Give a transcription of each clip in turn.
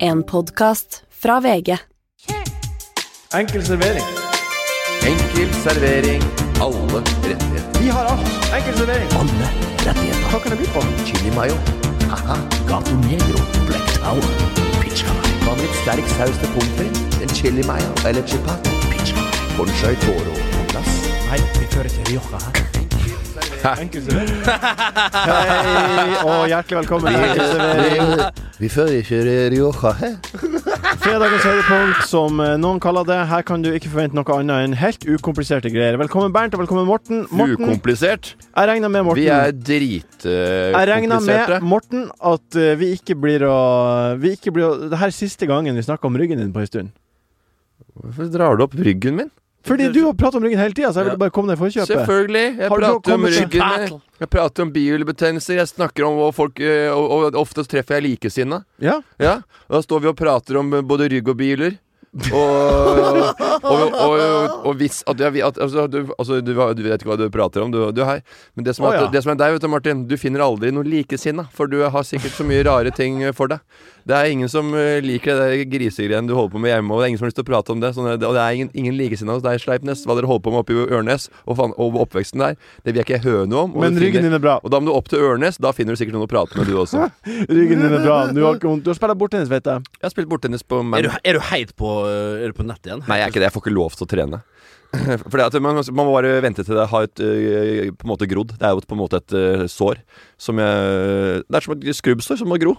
En podkast fra VG. Enkel servering. Enkel servering. Alle rettigheter. Vi har alt. Enkel servering. Alle rettigheter. Hva kan det by på? Chili mayo. Haha. Gato Negro, Black Tower, Pizza Hut, Hva med litt sterk saus til pommes frites? En chili mayo eller chipat? Pizza Hut. Conchai toro på plass. Nei, vi fører til Rioja her. Enkel servering. Hei, og hjertelig velkommen til Enkel servering. Vi fører ikke Rioja, hæ? Fredagens høydepunkt, som eh, noen kaller det. Her kan du ikke forvente noe annet enn helt ukompliserte greier. Velkommen Bernt, og velkommen Morten. Morten, Ukomplisert. jeg regner med Vi Morten. er dritkompliserte. jeg regner med Morten at eh, vi ikke blir å Vi ikke blir å Det her er siste gangen vi snakker om ryggen din på en stund. Hvorfor drar du opp ryggen min? Fordi du har pratet om ryggen hele tida, så jeg Ja. ville bare komme deg i forkjøpet. Selvfølgelig. Jeg Har du prater om kommet til- ryggen min. Jeg prater om bihulebetennelser. Jeg snakker om hvor folk eh, Og, og ofte treffer jeg likesinna. Ja. Ja, og da står vi og prater om eh, både rygg og biler. og, og, og, og hvis at jeg, at, altså, du, altså, du, du vet ikke hva du prater om, du, du her. Men det som, Å, er, at- ja. det som er deg, vet du, Martin, du finner aldri noen likesinna. For du har sikkert så mye rare ting eh, for deg. Det er ingen som eh, liker det der grisegreiene du holder på med hjemme. Og det er ingen som har lyst til å prate om det. Sånn, er det- og det er ingen, ingen likesinna hos deg, Sleipnes. Hva dere holder på med oppe i Ørnes og, faen, og oppveksten der, det vil jeg ikke høre noe om. Og, Men du ryggen finner, din er bra. og da må du opp til Ørnes. Da finner du sikkert noen å prate med, du også. Ryggen din er bra. Du har ikke vondt. Du har spilt bordtennis, vet jeg. Jeg har spilt borttennis på Er Man du, er du heit på, eh, er du på nettet igjen? Nei, jeg er ikke det. Jeg får ikke lov til å trene. Fordi at man, man må bare vente til det har et, øh, på en måte grodd. Det er jo et- på en måte et øh, sår som jeg Det er som et skrubbsår som må gro.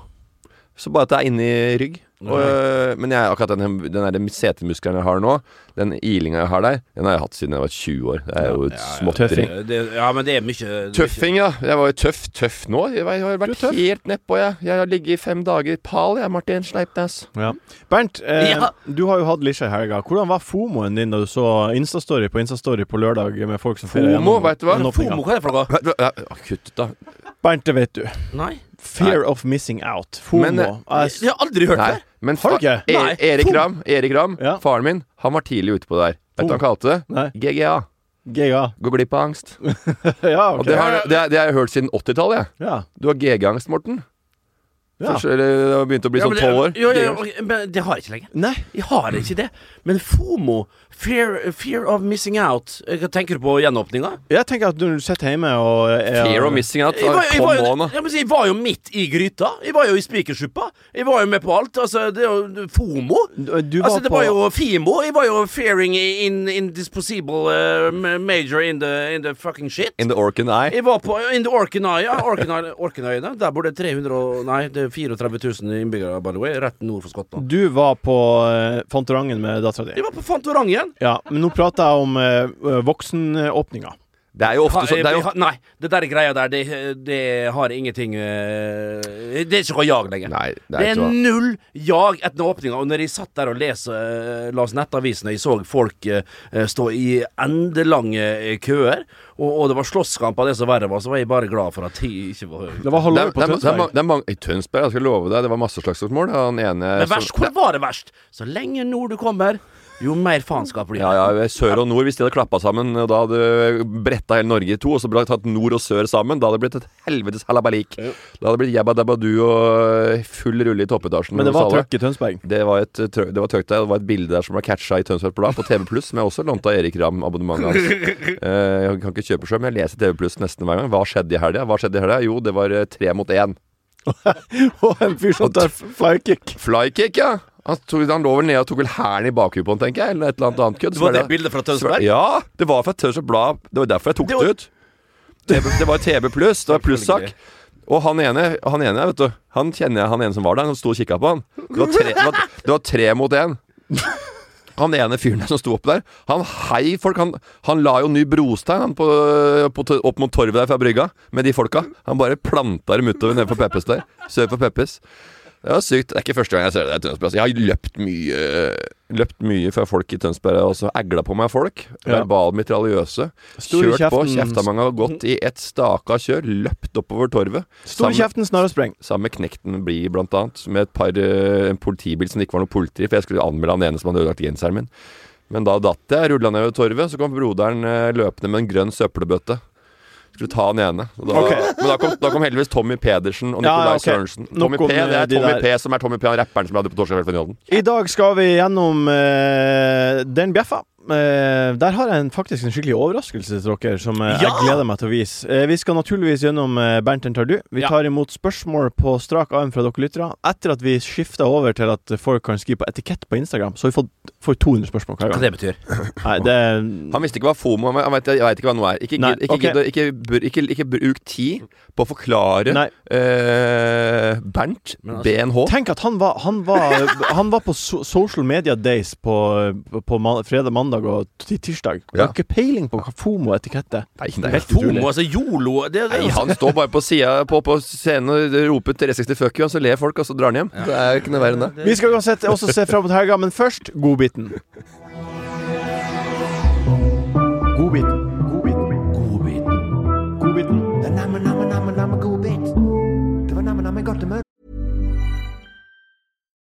Så bare at det er inni rygg. Og, øh, men jeg, akkurat den, den der setemuskelen jeg har nå, den ilinga jeg har der, den har jeg hatt siden jeg var 20 år. Det er jo et småtteri. Tøffing. Eh, Det, ja, men det er mye Tøffing, ja. Jeg var jo tøff, tøff nå. Jeg, var- jeg har vært helt nedpå, jeg. Jeg har ligget i fem dager i pal, jeg, Martin Sleipnes. Bernt, eh, Ja. du har jo hatt lisja i helga. Hvordan var fomoen din da du så Instastory på Instastory på lørdag med folk som feirer Fomo, gjennom- vet du hva? gjennom åpninga? Fomo, hva er det for noe? Vet du hva? Ja, Kutt ut, da. Bernt, det vet du. Nei. Fear of missing out. Fomo. Men, eh, Jeg s- Jeg har aldri hørt Nei, det. men Har du ikke? fa- E- Nei. Erik Tom. Ram, Erik Ram Ja. faren min, han var tidlig ute på det der. Vet du hva han kalte det? Nei. GGA. GA. Gå glipp av angst. ja, Og ok. det har, det, har- det har jeg hørt siden 80-tallet. jeg. Ja. Du har GG-angst, Morten. Ja. Først, eller, det har begynt å bli Ja, men sånn det- tolv år. Jo, jo, GG-angst. jo, men det har jeg ikke lenger. Nei. Jeg har ikke det. Men FOMO, fear, fear of missing out Eh, Hva tenker du på gjenåpninga? Jeg tenker at når du sitter hjemme og eh, er Fear of missing out. Jeg var, jeg, var Kom on, jo, da. ja, men jeg var jo midt i gryta. Jeg var jo i spikersuppa. Jeg var jo med på alt. Altså, det er jo FOMO. Du- eh, Du var altså, det på var jo FIMO. Jeg var jo fearing in, indisposable eh, ma- major in the, in the fucking shit. In the Orcan Eye. Jeg var på In the Orkenøya. Orkenøy- Orkenøyene. Der bor det 300 og Nei, det er 34 000 innbyggere, by the way. Rett nord for Skottland. Du var på eh, Fantorangen med dattera di. Jeg var på Fantorangen. Ja, men nå prater jeg om eh, voksenåpninga. Det er jo ofte sånn det er jo, Ha- Nei, det der greia der, det, det har ingenting eh, Det er ikke noe jag lenger. Nei, det Det er er ikke noe null jag etter åpninga. Og når jeg satt der og leste eh, Las Nettavisen, og jeg så folk eh, eh, stå i endelange eh, køer, og, og det var slåsskamp av det som verre var, så var jeg bare glad for at de ikke var Det var det halvåret er, på det, er, det, er, Tønsberg. mange- det er mange I Tønsberg, jeg skal love deg, det var masse slagsmål. Han ene Men verst, som- hvor var det verst? Så lenge nord du kommer, jo mer faenskap blir det. Ja, ja, Sør og nord, hvis de hadde klappa sammen, og da hadde bretta hele Norge i to, og så ble det tatt nord og sør sammen, da hadde det blitt et helvetes halabalik. Da hadde det blitt jabba dabba du og full rulle i toppetasjen. Men det hos var alle. trøkk i Tønsberg. Det var et eh, trøkk det var trøkk der, det var et bilde der som var catcha i Tønsberg Blad på TV Pluss, som jeg også lånte av Erik Ramm, abonnementet hans. Eh, jeg kan ikke kjøpe sjøl, men jeg leser TV Pluss nesten hver gang. Hva skjedde i helga? Hva skjedde i helga? Jo, det var eh, tre mot én. Og en fyr som tar flykick. Flykick, ja! Han, tok, han lå vel nede og tok vel hælen i bakhuet på han, tenker jeg, eller et eller annet annet kødd. Det Så var var det bildet fra Tønsberg? ja, det var fra Tønsberg Blad. Det var derfor jeg tok Det det, var- ut. TV, det var TB pluss. Det var plussak. Og han ene, han ene, vet du Han kjenner jeg, han ene som var der. Han sto og kikka på han. Det var tre, det var, det var tre mot én. Han ene fyren der som sto oppe der, han hei folk. Han, han la jo ny brostein han, på, på, to- opp mot torvet der fra brygga med de folka. Han bare planta dem utover nede på Peppes der. Sør for Peppes. Det var sykt. Det er ikke første gang jeg ser det i Tønsberg. Altså, Jeg har løpt mye Løpt mye fra folk i Tønsberg. Og så egla på meg folk. Ja. Verbalmitraljøse. Stor i Kjørt på. kjeften. Kjefta mange har gått i ett staka kjør. Løpt oppover torvet. Stor i Sammen- kjeften, snarere spreng. Sammen med Knekten Blie, blant annet. Med et par, eh, en politibil som det ikke var noe politi i, for jeg skulle anmelde han ene som hadde ødelagt genseren min. Men da datt jeg, rulla ned ved torvet, så kom broderen eh, løpende med en grønn søppelbøtte. skulle ta han ene. Og Da, Ok. Men da kom, da kom heldigvis Tommy Pedersen og Ja, Nicolai ja, ok. Sørensen. Nok Tommy om, P, det eh, er de der. Tommy P som er Tommy P, han rapperen som jeg hadde på Torsdagsfinalen. I dag skal vi gjennom eh, Den bjeffa. Eh, der har jeg en, faktisk en skikkelig overraskelse til dere som eh, jeg Ja! gleder meg til å vise. Eh, vi skal naturligvis gjennom eh, Bernt den tar du. Vi Ja. tar imot spørsmål på strak arm fra dere lyttere. Etter at vi skifta over til at folk kan skrive på etikett på Instagram, så har vi fått får 200 spørsmål hver Hva gang. det betyr? Nei, det Han visste ikke hva FOMO var, han vet, jeg vet ikke hva noe er. Ikke, Nei, gidd- ikke, ok. gidd å- ikke, br- ikke, ikke bruk tid på å forklare Nei. eh, Bernt Men altså- BNH. Tenk at han var Han var, han var på so Social Media Days på, på ma fredag, mandag og ti- tirsdag. Ja. Har ikke peiling på hva FOMO-etikette Nei, det er Helt helt utrolig. Homo, altså jolo det, det, Nei, altså. han står bare på sida på, på scenen og roper 360 fuck you, og så ler folk, og så drar han hjem. Det er jo ikke noe verre enn det. Vi skal uansett også se fram mot helga, men først godbiten. Godbiten. Godbiten. Godbiten.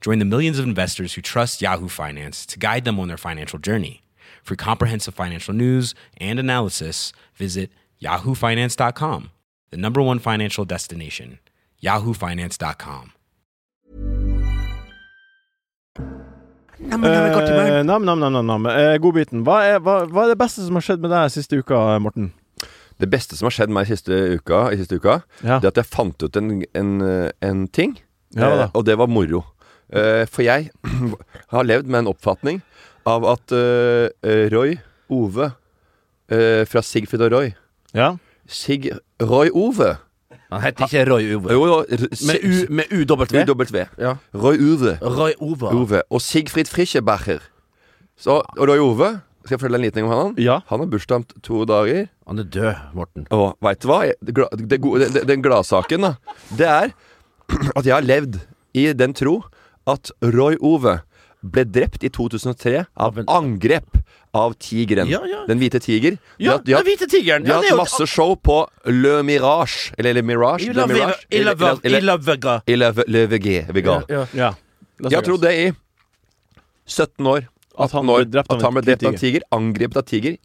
Join the millions of investors who trust Yahoo Finance to guide them on their financial journey. For comprehensive financial news and analysis, visit yahoofinance.com, the number one financial destination, yahoofinance.com. Eh, nam, nam, nam, nam, nam. Eh, godbiten. Hva er, hva, hva er det beste som har skjedd med deg siste uka, Morten? Det beste som har skjedd meg siste uka, i siste uka, Ja. det er at jeg fant ut en, en, en ting, Ja, hva da? eh, og det var moro. Eh, for jeg har levd med en oppfatning av at eh, eh, Roy Ove eh, fra Sigfrid og Roy Ja. Sig... Roy Ove? Han heter ikke Roy Ove. Jo, jo. r- Med, U, Sig- med UW. UW. Ja. Roy Uwe. Roy Ove. Ove. Og Sigfrid Frischebacher. Så, og Roy Ove, skal jeg fortelle en liten ting om han? Ja. Han har bursdag om t- to dager. Han er død, Morten. Og veit du hva? Jeg- Det, gla- det, gode- det, den gladsaken, da, det er at jeg har levd i den tro at Roy Ove ble drept i 2003 av Av en- angrep av tigeren. Ja, ja. Den hvite tiger. De Ja, har- de har- den hvite tigeren. De Ja, har det er hatt jo- masse show på Le Mirage. Eller, eller Mirage? Le Mirage? Eller- eller- eller- Ilavega. eller Le VG. Vegan. ja. Jeg har trodd det i 17 år. At 18 han år. ble drept av at han ble en drept av en tiger. Angrepet av tiger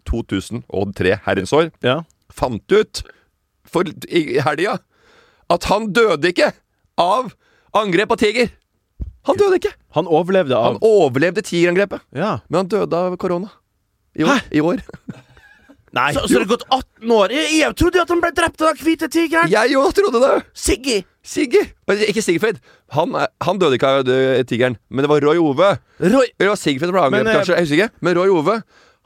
2003, herrens år. Ja. Fant ut for, i i helga at han døde ikke av angrep av tiger! Han døde ikke! Han overlevde Han av overlevde tigerangrepet, Ja. men han døde av korona. I år. I år. Nei. Så, så det har gått 18 år. Jeg, jeg trodde jo at han ble drept av den hvite tigeren. Jeg jo trodde det! Siggy! Sigge! Ikke Sigfrid. Han, er- han døde ikke av dø- tigeren, men det var Roy Ove. Roy Eller det var Sigfrid som ble Men, angrepet, eh, kanskje. Jeg husker ikke. Men Roy Ove,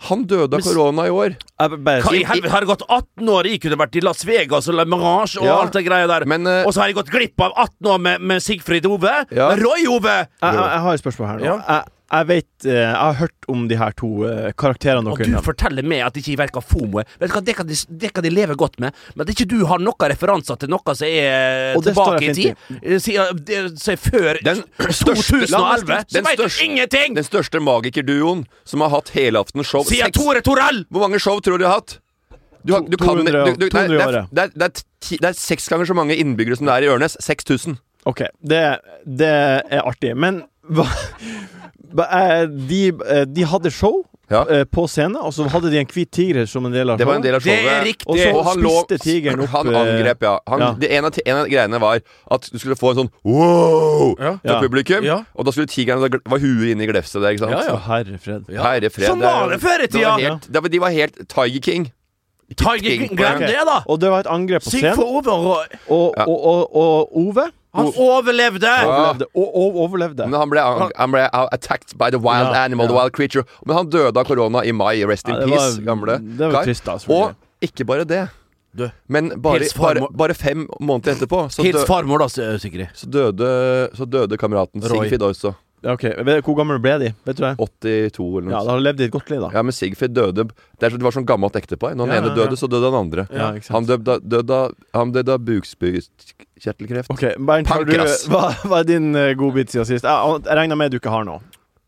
han døde av korona i år. Jeg vil bare Hva i si helvete, har det gått 18 år? Jeg kunne vært i Las Vegas og La Mirage og Ja, alt det greia der. men, eh, og så har jeg gått glipp av 18 år med, med Sigfrid Ove. Ja. Med Roy Ove! jeg, jeg, jeg har et spørsmål her nå. Ja. Jeg, jeg vet eh, Jeg har hørt om de her to eh, karakterene Og dere du nevnte. forteller meg at ikke jeg verker fomo. Vet du hva, det kan, de, det kan de leve godt med, men at ikke du har noen referanser til noe som er eh, Og det står tilbake i jeg tid, fint eh, siden det- som er før Den største- 2011, så den veit du største- ingenting! Den største magikerduoen som har hatt helaftens show. Sier Seks- Tore Torell! Hvor mange show tror du de har hatt? Du, har- du kan- 200 du- du- 200 nei, i det er- året. Det er, det, er ti, det er seks ganger så mange innbyggere som det er i Ørnes. 6000. Ok, det, det er artig. Men hva, hva er- de, eh, de hadde show Ja. eh, på scenen, og så hadde de en hvit tiger som en del av Det var en showet. del av Det showet. er riktig. Og så Og han lå- spiste tigeren opp Han eh, angrep, ja. Han, ja. Det, en, av, ti- en av greiene var at du skulle få en sånn wow Ja. fra Ja. publikum. Ja. Og da skulle tigeren da gl- var huet inne i glefset der, ikke sant. Ja, ja. Å, herre fred. Ja. Herre fred. Sånn det er- var det før i det var tida. helt- det var- De var helt Tiger King. Tiger King. King, Glem Ok. det, da! Og det var et angrep på Syng scenen. for Ove og Roy. Og, Ja. og, og, og Ove Han overlevde! Overlevde. Og, og overlevde. Men han ble, han, han ble uh, attacked by the wild Ja, animal, the ja. wild creature. Men han døde av korona i mai. Rest in Ja, det peace, var- gamle det var trist da, selvfølgelig. Og ikke bare det. Du. Men bare, Hils bare, farmor. bare fem måneder etterpå så, dø, Hils farmor, da, Sigrid. så, døde, så døde kameraten Roy. Sigfrid også. Ok, vet, Hvor gammel ble de? Vet du det? 82 eller noe. Ja, sånt. da har de levd i et godt liv, da. Ja, men Sigfrid døde Det er så- det var sånn gammelt ektepar. Når den Ja, ene ja, ja. døde, så døde den andre. Ja, ikke sant. han døde av- døde av- han døde av bukspyttkjertelkreft. Ok, Bernt, har du, Pankras. hva, hva er din eh, godbit siden sist? Jeg, jeg regner med du ikke har noe.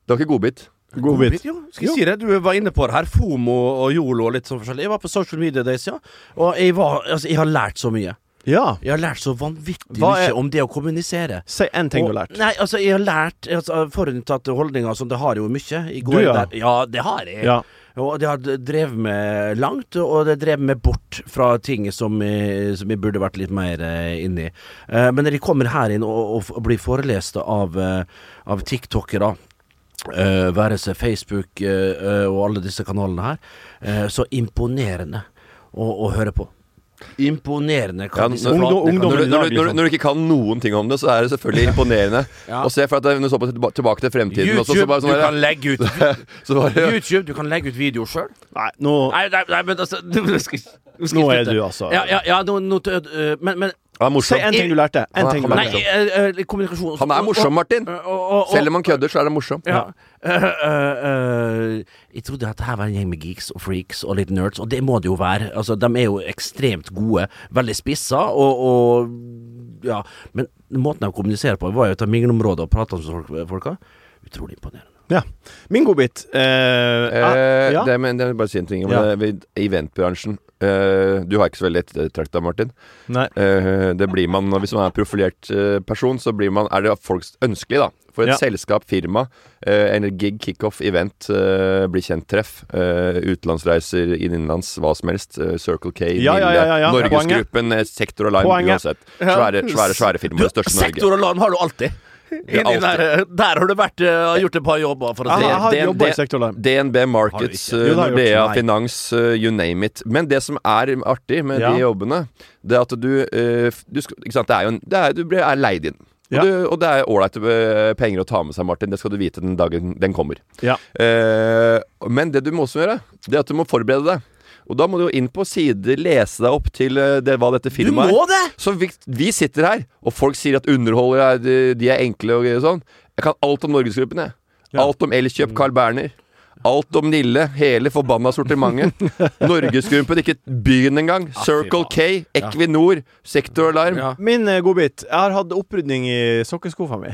Det var ikke godbit. Godbit. Jo, skal jeg si det? Du var inne på det her. FOMO og YOLO og litt sånn forskjellig. Jeg var på Social Media Days, ja. Og jeg, var, altså, jeg har lært så mye. Ja. Jeg har lært så vanvittig Hva er- mye om det å kommunisere. Si én ting du har Og- lært. Nei, altså, jeg har lært altså, Forutinntatte holdninger og sånn, det har jeg jo mye. I går ja. Der, ja, det har jeg. Ja. Og det har d- drevet meg langt, og det drev meg bort fra ting som jeg, som jeg burde vært litt mer eh, inni. Eh, men når jeg kommer her inn og, og, f- og blir forelest av, eh, av tiktokere eh, være seg Facebook eh, eh, og alle disse kanalene her, eh, så imponerende å, å høre på. Imponerende hva Ja, disse når- flatene ungdom- kan- ungdom- Når du, når, Ungdommen i du, dag, når, du, liksom. når du ikke kan noen ting om det, så er det selvfølgelig imponerende. Ja. Og se for at det- når du så på tilba- tilbake til fremtiden også, så YouTube, bare sånn du der- kan legge ut så var det- YouTube, du kan legge ut video sjøl. Nei, nå Nei, nei, nei, men altså du, du skal, du skal Nå er slutte. du altså- Ja, ja, ja nå, nå, tø- øh, men, men Han er Si morsom. én ting du lærte. En Han- ting du han- Nei, lærte. øh, øh, kommunikasjon Han er morsom, Martin. Og- og- og- Selv om han kødder, så er han morsom. ja. Øh, øh, øh, jeg trodde at det her var en gjeng med geeks og freaks og litt nerds, og det må det jo være. Altså, de er jo ekstremt gode, veldig spissa, og, og ja. Men måten de kommuniserer på, var jo ut av mingleområdet og prata med folk- folka. Utrolig imponerende. Ja. Min godbit eh, Ah, Eh, ja. det, men, det vil bare si en ting om Ja. det. Vi- Eventbransjen. Eh, du har ikke så veldig ettertrakta, Martin. Nei. Eh, det blir man, Hvis man er en profilert eh, person, så blir man, er det folks ønskelig, da. For et Ja. selskap, firma, eh, en gig, kickoff, event, eh, bli kjent-treff. Eh, utenlandsreiser, inn- innenlands, hva som helst. Eh, Circle K, Ja, ja, ja, ja, ja. Norgesgruppen, eh, Sektor og Line, Poenget. uansett. Svære, svære, svære firmaer, det største i Norge. Sektor og land har du alltid! Inni alltid. Der, der har du vært øh, gjort et par jobber, for å Jeg si det har, Altså, det- det- har jobba det- i sektorlarm. DNB Markets, Har du ikke? Jo, det har jeg Nordea gjort. Nei. Finans, eh, you name it. Men det som er artig med Ja. de jobbene, det er at du, eh, f- du skal, Ikke sant, det er jo en, det er, du blir, er leid inn. Og, Ja. du, og det er ålreite eh, penger å ta med seg, Martin. Det skal du vite den dagen den kommer. Ja. Eh, men det du må også gjøre, det er at du må forberede deg. Og da må du jo inn på sider, lese deg opp til eh, det, hva dette Du firmaet må det! så vi, vi sitter her, og folk sier at underholdere er, de, de er enkle og greier sånn. Jeg kan alt om Norgesgruppen, jeg. Alt om Elkjøp, Carl Berner. Alt om Nille. Hele forbanna sortimentet. Norgesgruppen, ikke byen engang. Circle K, Equinor, Sektoralarm. Ja. Min eh, godbit. Jeg har hatt opprydning i sokkeskuffa mi.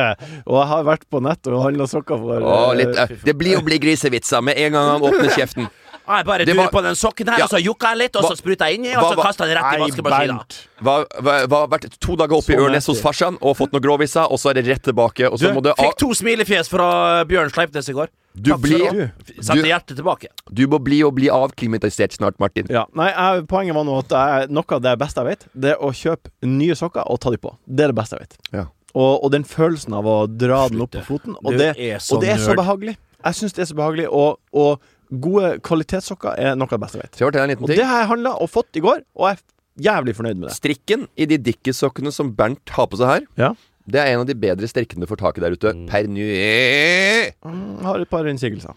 og jeg har vært på nett og handla sokker for Å, eh, litt, eh, det blir jo bli grisevitser med en gang han åpner kjeften. Jeg bare Det durer var- på den sokken her, Ja. og så jukka jeg litt, og Hva- så spruta jeg inni, og hva- hva- så kasta jeg den rett i Nei, vaskemaskina. Bernt. Hva, hva, hva, vært to dager oppe i Sånn Ørnes hos heter farsan og fått noe gråvisa, og så er det rett tilbake. Og Du så må du, fikk to smilefjes fra Bjørn Sleipnes i går. du, Takk blir- skal du ha. du, Sendte hjertet tilbake. du må bli og bli avklimatisert snart, Martin. Ja. Nei, jeg, poenget var nå at jeg, noe av det beste jeg vet, det er å kjøpe nye sokker og ta de på. Det er det beste jeg vet. Ja. Og, og den følelsen av å dra den opp på foten, og Du det, er så og det er så nerd. behagelig. Jeg syns det er så behagelig, og, og gode kvalitetssokker er noe av det beste jeg vet. Skal jeg fortelle deg en liten Og ting? det har jeg handla og fått i går, og jeg er jævlig fornøyd med det. Strikken i de dickies-sokkene som Bernt har på seg her, Ja. det er en av de bedre strikkene du får tak i der ute. Per ny... Ja, Jeg har et par innsigelser.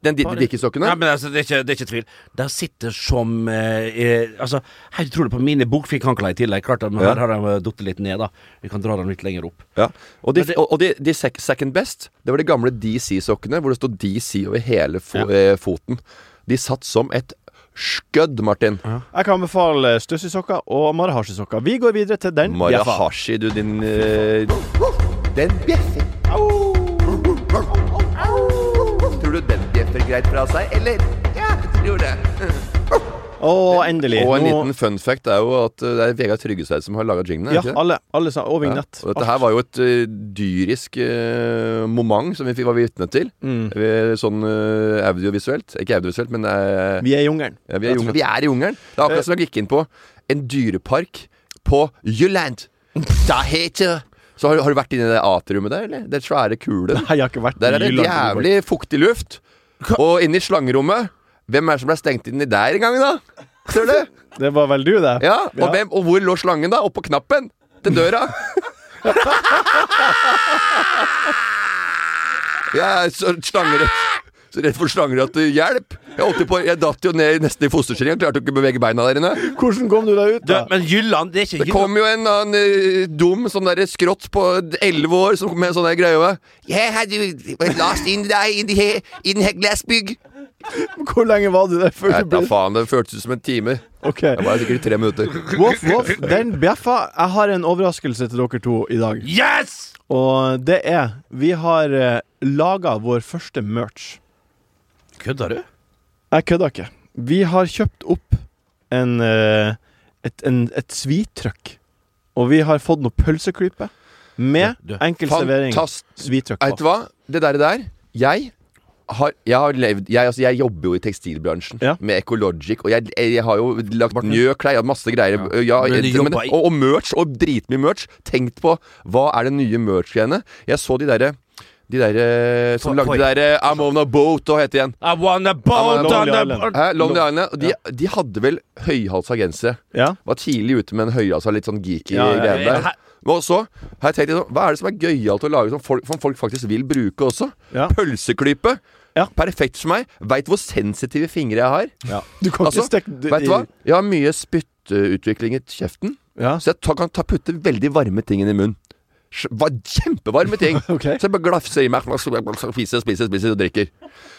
den di- de dickies-sokkene. Nei, men altså, det, er ikke, det er ikke tvil. De sitter som eh, eh, Altså, helt utrolig på mine bokfikkhankler i tillegg. Klart, at- men Ja. her har de datt litt ned, da. Vi kan dra dem litt lenger opp. Ja. Og, de, Men det- og og de, de sec- second best, det var de gamle DC-sokkene, hvor det stod DC over hele fo eh, foten. De satt som et skødd, Martin. Jeg kan anbefale Stussy-sokker og Marahashi-sokker. Vi går videre til den bjeffa. Marahashi, du, din eh, Den bjeffer. Au! Tror du den bjeffer greit fra seg, eller? Ja, jeg tror det. Og endelig. Og en nå- liten fun fact er jo at uh, det er Vegard Tryggeseid som har laga jinglene. ja, ikke det? alle, alle sa, og vignett. Og dette her var jo et uh, dyrisk uh, moment som vi fikk- var vitne til. Mm. Vi- Sånn uh, audiovisuelt. Ikke audiovisuelt, men uh, Vi er i jungelen. ja, vi, er i jungelen. vi er i jungelen. Det er akkurat som jeg gikk inn på en dyrepark på Jylland. Da heter Så har, har du vært inne i det atriumet der, eller? Det svære kulet. Nei, jeg har ikke vært Der er det i Jylland. jævlig fuktig luft. Og inne i slangerommet Hvem er det som ble stengt inn i der en gang, da? Tror du? Det var vel du, det? Ja, og, Hvem, og hvor lå slangen da? Oppå knappen til døra. Jeg er så slangeredd. Så redd for slangerett. Hjelp! Jeg, holdt jo på, jeg datt jo ned nesten i fosterstilling. Jeg klarte jo ikke å bevege beina der inne. Hvordan kom du deg ut, Du, da? men Jylland, det er ikke Det kom jo en annen eh, dum sånn derre skrått på elleve år som kom med sånn der greie over. Yeah, had you was lost in the, in the, in the Glassbygg? Hvor lenge var du der før Nei, du da ble faen, det føltes ut som en time. Ok. Det var sikkert tre minutter. Voff, voff. Den bjeffa. Jeg har en overraskelse til dere to i dag. Yes! Og det er Vi har uh, laga vår første merch. Kødder du? Jeg kødder ikke. Vi har kjøpt opp en, eh, et, en, et svitrøkk. Og vi har fått noe pølseklype med Du, du. enkel servering Fantast... svitrøkk Vet du på. hva? Det der, der Jeg har, jeg har levd jeg, altså, jeg jobber jo i tekstilbransjen Ja. med Ecologic, og jeg, jeg har jo lagt njøklær og masse greier. Ja. Men du men, jobba i- og, og merch, og dritmye merch. Tenkt på hva er det nye merch-greiene. Jeg så de derre de der, eh, som På- lagde på- de derre I'm on a boat, og heter igjen. I wanna I'm boat on a on Lonely the Island. Hæ? Lonely Island. og De, de hadde vel høyhalsa gensere. Ja. Var tidlig ute med en høyhalsa, litt sånn geeky Ja, ja, ja. greiene der. Og så har jeg tenkt litt sånn, Hva er det som er gøyalt å lage som folk, som folk faktisk vil bruke også? Ja. Pølseklype. Ja. Perfekt for meg. Veit hvor sensitive fingre jeg har. ja. Du kan Altså, ikke stekke det Vet i- du hva? Jeg har mye spytteutvikling i kjeften, Ja. så jeg ta, kan ta, putte veldig varme ting inn i munnen. Sj- hva- Kjempevarme ting! Ok. Så jeg bare glafser i meg, spiser, spiser, spiser og drikker.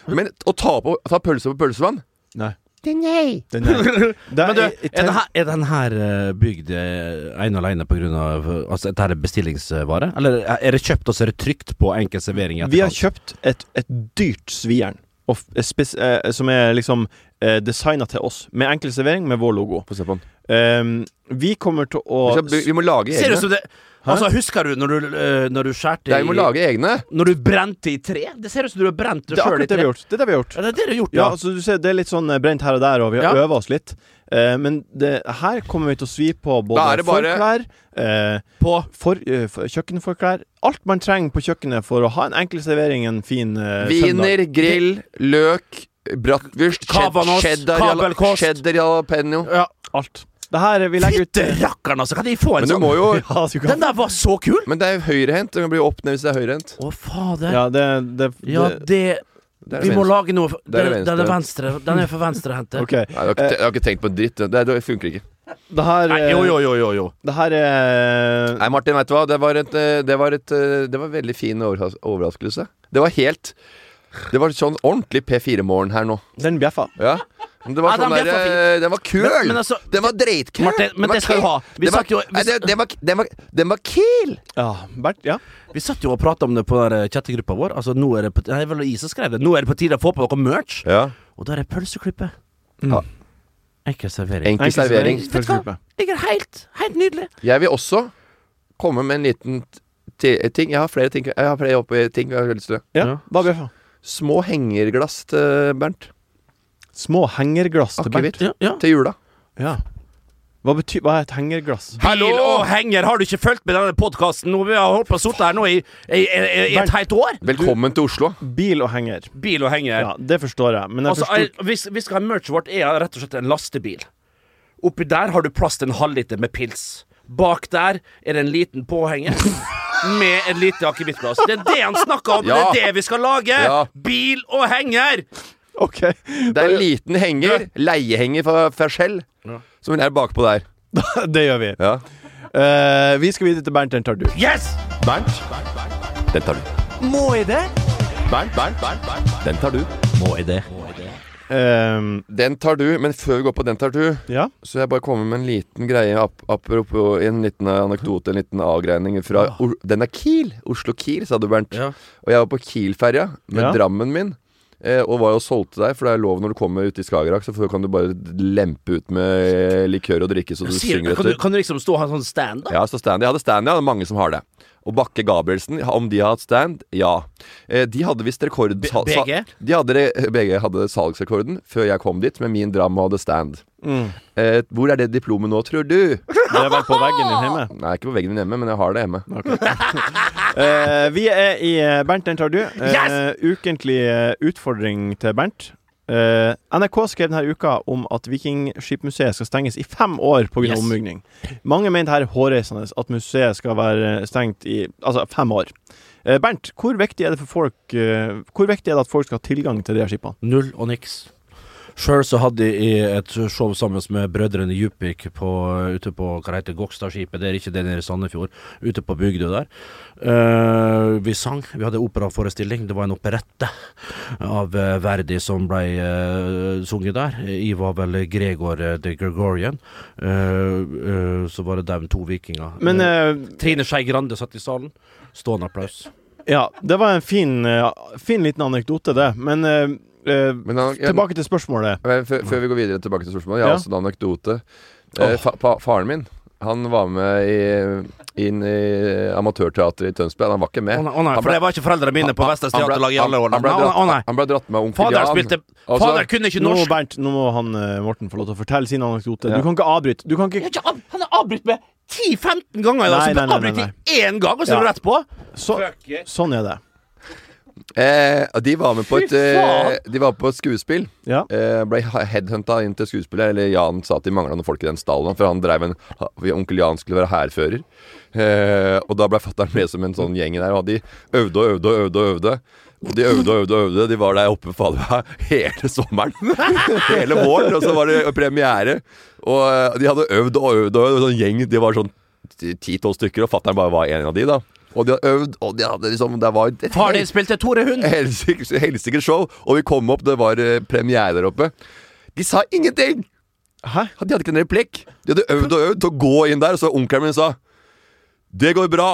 Men å ta, på, ta pølse på pølsevann Nei. Den er Den er, det er, Men du, jeg- jeg er den tenker- her, Eh, er den her eh, bygd eh, ene og alene på grunn av eh, Altså, dette her er bestillingsvare? Eller eh, er det kjøpt, og så er det trygt på enkel servering? Vi har kjøpt et, et dyrt svijern og f- eh, spes, eh, som er liksom eh, designa til oss, med enkel servering med vår logo. Få se på den. Um, vi kommer til å Vi, skal, by- vi må lage Ser ut egne. som det Altså, husker du når du, eh, når du skjærte Nei, vi må i lage egne. Når du brente i tre? Det ser ut som du har brent Det det er sjøl i akkurat det vi tre. har gjort. Det er det vi har gjort. Ja, det er det du har gjort, Ja, ja. altså du ser Det er litt sånn eh, brent her og der, og vi har Ja. øvet oss litt. Eh, men det, her kommer vi til å svi på Da både er det bare- forklær, eh, På for, eh, for, kjøkkenforklær Alt man trenger på kjøkkenet for å ha en enkel servering en fin eh, søndag. Wiener, grill, løk, bratwurst, ched- Kavanos, cheddar, jala- kabelkost. cheddar jalapeno. Ja. Alt. Det her eh, vi legger ut Fytte rakkeren, altså! Kan de få en Men du sånn? må jo Ja, så kan- Den der var så kul! Men det er jo høyrehendt. Det blir jo opp ned hvis det er høyrehendt. Å, fader. Ja, ja, det, det, det det Det er Vi det må minste. lage noe for- Der er Den den er venstre. venstre. Den er for venstrehendte. OK. Nei, jeg, har ikke, te- jeg har ikke tenkt på en dritt. Det, det funker ikke. Det her, Nei, eh, jo, jo, jo, jo, jo. Det her eh, er Nei, Martin, vet du hva? Det var, et, eh, det var, et, eh, det var en veldig fin overras- overraskelse. Det var helt Det var sånn ordentlig P4-morgen her nå. Den bjeffa. Ja. Men Det var Ja, den sånn ble der, for fin. eh, den var kul! Men- men altså- den var dritkul! Martin, men Den var det skal du kul. ha. Vi Den var- satt jo- vi Nei, det- Den var- den var- den var kul! Ja. Bernt, ja. Vi satt jo og prata om det på den der chattegruppa vår. Altså, nå er det på, nei, det var jeg som skrev det. Nå er det på tide å få på noe merch. Ja. Og da er det pølseklippe. Ja. Enkel servering. Enkel servering. Vet du Pølseklype. hva? Jeg er helt, helt nydelig. Jeg vil også komme med en liten t- ting. Jeg har flere ting Jeg har flere oppe ting jeg har lyst til. Ja, Ja. hva bjeffa? Små hengerglass til Bernt. Små hengerglass til Bernt. Akevitt. Ja, ja. Til jula. Ja. Hva, betyr, hva er et hengerglass? Hallo! og henger, har du ikke fulgt med denne podkasten? Vi har holdt på å sitte her nå i, i, i, i et helt år. Velkommen til Oslo. Bil og henger. Bil og henger. Ja, Det forstår jeg, men jeg altså, forstår er, hvis, hvis vi skal ha merchet vårt, er jeg rett og slett en lastebil. Oppi der har du plass til en halvliter med pils. Bak der er det en liten påhenger med en liten akevittglass. Det er det han snakker om! Ja. Det er det vi skal lage! Ja. Bil og henger! OK. Det er en liten henger. Leiehenger fra, fra Shell. Som hun er bakpå der. det gjør vi. Ja. Eh, vi skal videre til Bernt, den tar du. Yes! Bernt. Den tar du. Må jeg det? Bernt, Bernt, Bernt, Bernt. Den tar du. Må jeg det? Eh, Den tar du, men før vi går på den tar du, ja. så jeg bare kommer med en liten greie ap apropos en liten anekdote, en liten avgreining fra Or Den er Kiel. Oslo Kiel, sa du, Bernt. Ja. Og jeg var på Kiel-ferja med Ja. Drammen min. eh, Og var jo solgte deg, for det er lov når du kommer ut i Skagerrak, så får- kan du bare lempe ut med eh, likør og drikke så du Sier, synger kan, du, etter. kan du liksom stå og ha en sånn stand, da? Ja, så stand. Jeg hadde stand, ja. Det er mange som har det. Og Bakke Gabrielsen, om de har hatt stand? Ja. Eh, De hadde visst rekord... sa- sa- BG? De hadde, re- BG hadde salgsrekorden før jeg kom dit med min dram og hadde stand. Mm. Eh, hvor er det diplomet nå, tror du? Det er vel på veggen din hjemme. Nei, ikke på veggen min hjemme, men jeg har det hjemme. Eh, vi er i eh, Bernt, den tar du. Eh, Ukentlig eh, utfordring til Bernt. Eh, NRK skrev denne uka om at Vikingskipmuseet skal stenges i fem år pga. Yes. av ombygning. Mange mener det her er hårreisende at museet skal være stengt i altså fem år. Eh, Bernt, hvor viktig er det for folk eh, Hvor viktig er det at folk skal ha tilgang til de her skipene? Null og niks. Sjøl så hadde jeg et show sammen med brødrene Djupvik på, ute på hva det heter Gokstadskipet, det er ikke det nede i Sandefjord, ute på Bygdøy der. Eh, vi sang, vi hadde operaforestilling, det var en operette av eh, Verdi som ble eh, sunget der. Jeg var vel Gregor eh, the Gregorian. Eh, eh, så var det de to vikinger. Men Eh, eh, Trine Skei Grande satt i salen. Stående applaus. Ja, det var en fin, eh, fin liten anekdote, det. Men eh, eh, Men han- tilbake til spørsmålet. Men før, før vi går videre tilbake til spørsmålet, jeg Ja. har også en anekdote. Eh, fa pa faren min han var med i, inn i amatørteatret i Tønsberg. Han var ikke med. Å nei, å nei, Han for ble- det var ikke foreldrene mine på Vestlands han ble- Teaterlag i alle han- årene. han ble Å nei, å nei. dratt- Han ble dratt med av onkel Fader Jan. spilte Altså- Fader kunne ikke Nå, norsk! Bernt, nå må han, eh, Morten få lov til å fortelle sin anekdote. Ja. Du kan ikke avbryte. Du kan ikke ikke av- han er avbrutt med 10-15 ganger i dag, Nei, så nei, ble nei, avbrutt nei, i én gang, og så er det Ja. rett på. så, Sånn er det. Eh, og de var med på et, eh, de var på et skuespill. Ja. Eh, ble ha- headhunta inn til skuespillet. Eller Jan sa at de mangla noen folk i den stallen, for han drev en ha- Onkel Jan skulle være hærfører. Eh, og da ble fatter'n med som en sånn gjeng der, og de øvde og øvde og øvde. og øvde og de øvde og øvde og øvde. De var der oppe fader meg hele sommeren. hele våren. Og så var det premiere. Og eh, de hadde øvd og øvd og øvd. og Sånn gjeng, de var sånn ti-tolv stykker, og fatter'n bare var en av de, da. Og de hadde øvd, og de hadde liksom Det var et Far din spilte Tore Hund. Helsikes helsikes show. Og vi kom opp, det var eh, premiere der oppe. De sa ingenting! Hæ? De hadde ikke en replikk. De hadde øvd og øvd til å gå inn der, og så onkelen min sa Det går bra.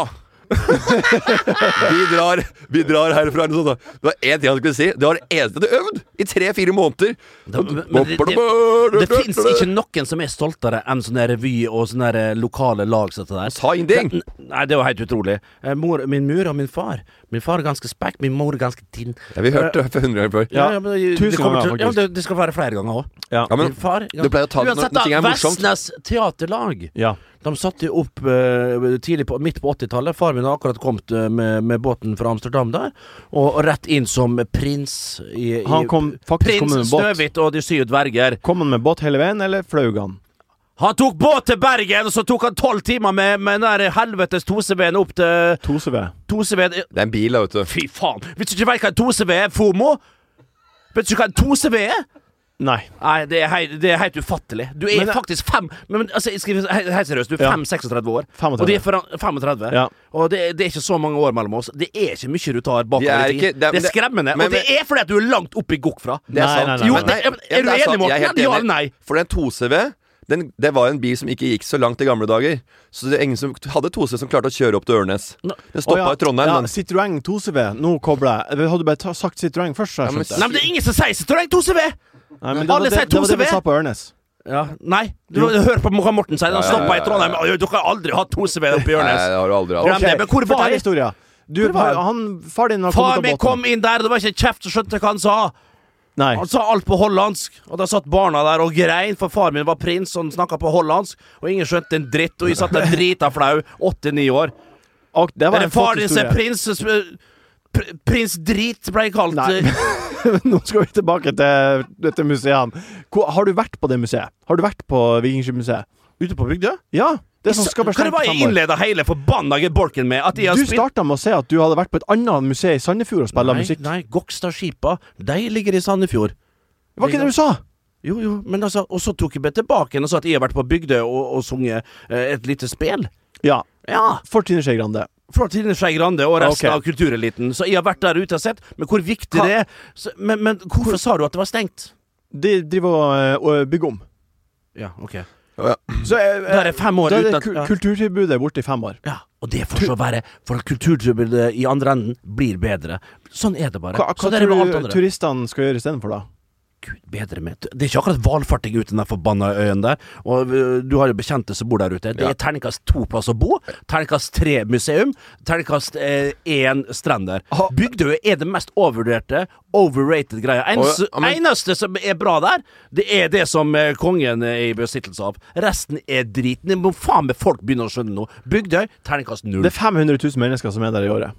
vi, drar, vi drar herfra. Eller noe sånt. da. Det var én ting han skulle si. Det var det eneste de hadde øvd i tre-fire måneder. men- men det- Det fins ikke noen som er stoltere enn sånne revy og sånne der eh, lokale lag som dette der. Sa ingenting. Det- Nei, det var helt utrolig. Eh, Mor, min mor og min far. Min far er ganske spekk, min mor er ganske tynn. Ja, vi hørte det for hundre ganger før. Ja, men det- tusen det ganger, kommer til- Ja, faktisk. det, det skal være flere ganger òg. Ja. Ja, men Min far du pleier å ta det når- Uansett, når ting er da, morsomt. Vestnes Teaterlag. ja. De satte jo opp eh, tidlig på, midt på 80-tallet. Far min har akkurat kommet eh, med, med båten fra Amsterdam der, og, og rett inn som prins i, i Han kom faktisk kom med Prins båt. Snøhvit og de syv dverger. Kom han med båt hele veien, eller fløy han? Han tok båt til Bergen, og så tok han tolv timer med, med den der helvetes Toseveen opp til Toseve. Toseveen Det er en bil, da, vet du. Fy faen! Hvis du ikke vet hva en Toseveen er, FOMO Vet du ikke hva en Toseveen er? Nei. Nei, det er, hei, det er helt ufattelig. Du er Men det- faktisk fem men, men, altså, jeg skal, he- Helt seriøst, du er Ja. 5-36 år. 35. Og de er foran- 35. Ja. Og det, er- det er ikke så mange år mellom oss. Det er ikke mye du tar bakover Det er i ikke- tid. det er- Det er skremmende. men- og det er fordi at du er langt oppe i gokk fra. Det er Nei, sant. nei, nei, Jo, nei. det- ja, men er du det enig, sant. Morten? Jeg er helt Ja, ja eller enig. nei? For den 2CV, den, det var en bil som ikke gikk så langt i gamle dager. Så det er ingen som hadde 2CV som klarte å kjøre opp til Ørnes. Nå- Den stoppa Å, ja. i Trondheim. Ja, den. Citroën Toseve. Nå kobler jeg. Hadde du bare ta, sagt Citroën først, så Ja, men jeg skjønte. Nei, men det er ingen som sier så tror jeg Toseveen! Nei, men det, var alle det, sier det var det vi Toseve. sa på Ørnes. Ja, nei, du, hør på hva Morten sier. Ja, Han ja, ja, stoppa i ja, Trondheim. Oi, Dere har aldri hatt Toseveen oppe i Nei, Ørnes. det har du aldri hatt. Ja, men det- men hvor var Fortell jeg? historien. Du, Hvor var jeg? han, far din har Far kommet min av båten. kom Altså, inn der, det var ikke kjeft som skjønte hva han sa. Nei. Han sa alt på hollandsk, og da satt barna der og grein, for far min var prins, og han snakka på hollandsk, og ingen skjønte en dritt, og jeg satt der drita flau, åtte-ni år. Og det var Eller en flott far din som er historie. prins sp- pr- Prins Drit ble jeg kalt. Nei. eh, Nå skal vi tilbake til dette museet. Hvor, har du vært på det museet? Har du vært på Vikingskipmuseet? Ute på bygda? Ja. Det som skal være Hva det stengt var jeg fem år. innleda hele forbanna bolken med? At jeg har Du spilt starta med å si at du hadde vært på et annet museum i Sandefjord og spilla Nei, musikk. nei Gokstadskipa, de ligger i Sandefjord. Var ikke det du sa? Jo, jo, men altså Og så tok jeg meg tilbake igjen og sa at jeg har vært på Bygdøy og, og sunget eh, et lite spel. Ja. Ja, For Trine Skei Grande. fra Trine Skei Grande og resten Ok. av kultureliten. Så jeg har vært der ute og sett, men hvor viktig Hva- det er så, men, men hvorfor sa du at det var stengt? De driver og, eh, og bygger om. Ja, ok Så eh, Der er fem år da er uten det at ku- ja. kulturtilbudet borte i fem år. ja, og det får så være, for kulturtilbudet i andre enden blir bedre. Sånn er det bare. Hva, hva sånn er det med alt tror du andre. turistene skal gjøre istedenfor, da? Gud, bedre med Det er ikke akkurat valfarting uten den forbanna øyen der. Og øh, du har jo bekjente som bor der ute. Det Ja. er terningkast to plass å bo, terningkast tre museum, terningkast eh, én strender. Ha- Bygdøy er det mest overvurderte, overrated greia. Ens, Å, ja, men- Eneste som er bra der, det er det som eh, kongen er i besittelse av. Resten er driten. Det må faen meg folk begynne å skjønne nå. Bygdøy, terningkast null. Det er 500 000 mennesker som er der i året.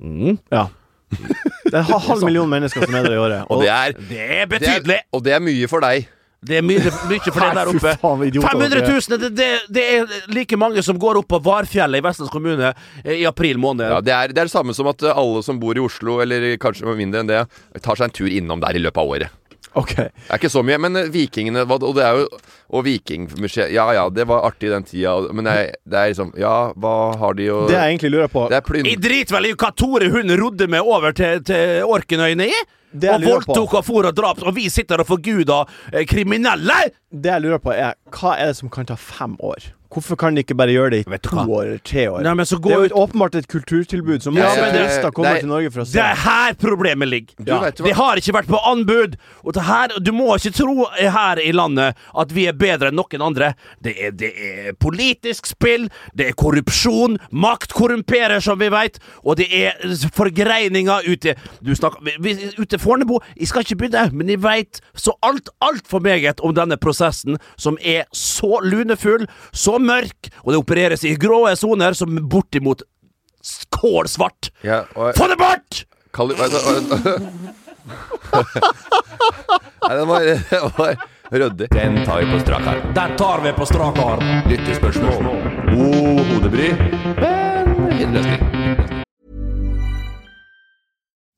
Mm. Ja. Det er en halv million mennesker som er der i året. Og det er, Det er det er, betydelig! og det er mye for deg. Det er mye, mye for det der Nei, fy oppe. faen, idioter, 500 dere. 000! Det, det, det er like mange som går opp på Varfjellet i Vestlands kommune eh, i april måned. Ja, det, er, det er det samme som at eh, alle som bor i Oslo, eller kanskje mindre enn det, tar seg en tur innom der i løpet av året. Ok Det er ikke så mye, men eh, vikingene hva- Og det er jo Og vikingmuseet Ja ja, det var artig den tida, men det er, det er liksom Ja, hva har de å Det jeg egentlig lurer på, Det er plynd... Jeg driter vel i hva Tore hun rodde med over til, til Orkenøyene i! Det Og jeg lurer på. voldtok og for og drap, og vi sitter og forguder eh, kriminelle! det jeg lurer på er hva er det som kan ta fem år? Hvorfor kan de ikke bare gjøre det i Vet du to hva? år eller tre år? Nei, men så det er går jo et, åpenbart et kulturtilbud som Ja, mange men det- turister kommer det er- til Norge for å se. Det er her problemet ligger. Du vet jo hva- Det har ikke vært på anbud. Og det her, du må ikke tro her i landet at vi er bedre enn noen andre. Det er, det er politisk spill, det er korrupsjon, makt korrumperer, som vi vet, og det er forgreininger ute Du snakker vi- vi- Ute Fornebu Jeg skal ikke begynne, men jeg veit så alt, altfor meget om denne prosessen, som er så lunefull, så mørk, og det opereres i grå soner som er bortimot kålsvart. Ja, og, Få det bort! Kali... Nei, den var, den var ryddig. Den tar vi på strak arm. Den tar vi på strak arm. Lyttespørsmål. God hodebry, men innløsning.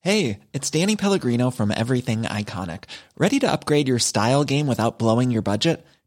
Hey, it's Danny Pellegrino from Everything Iconic. Ready to upgrade your style game without blowing your budget?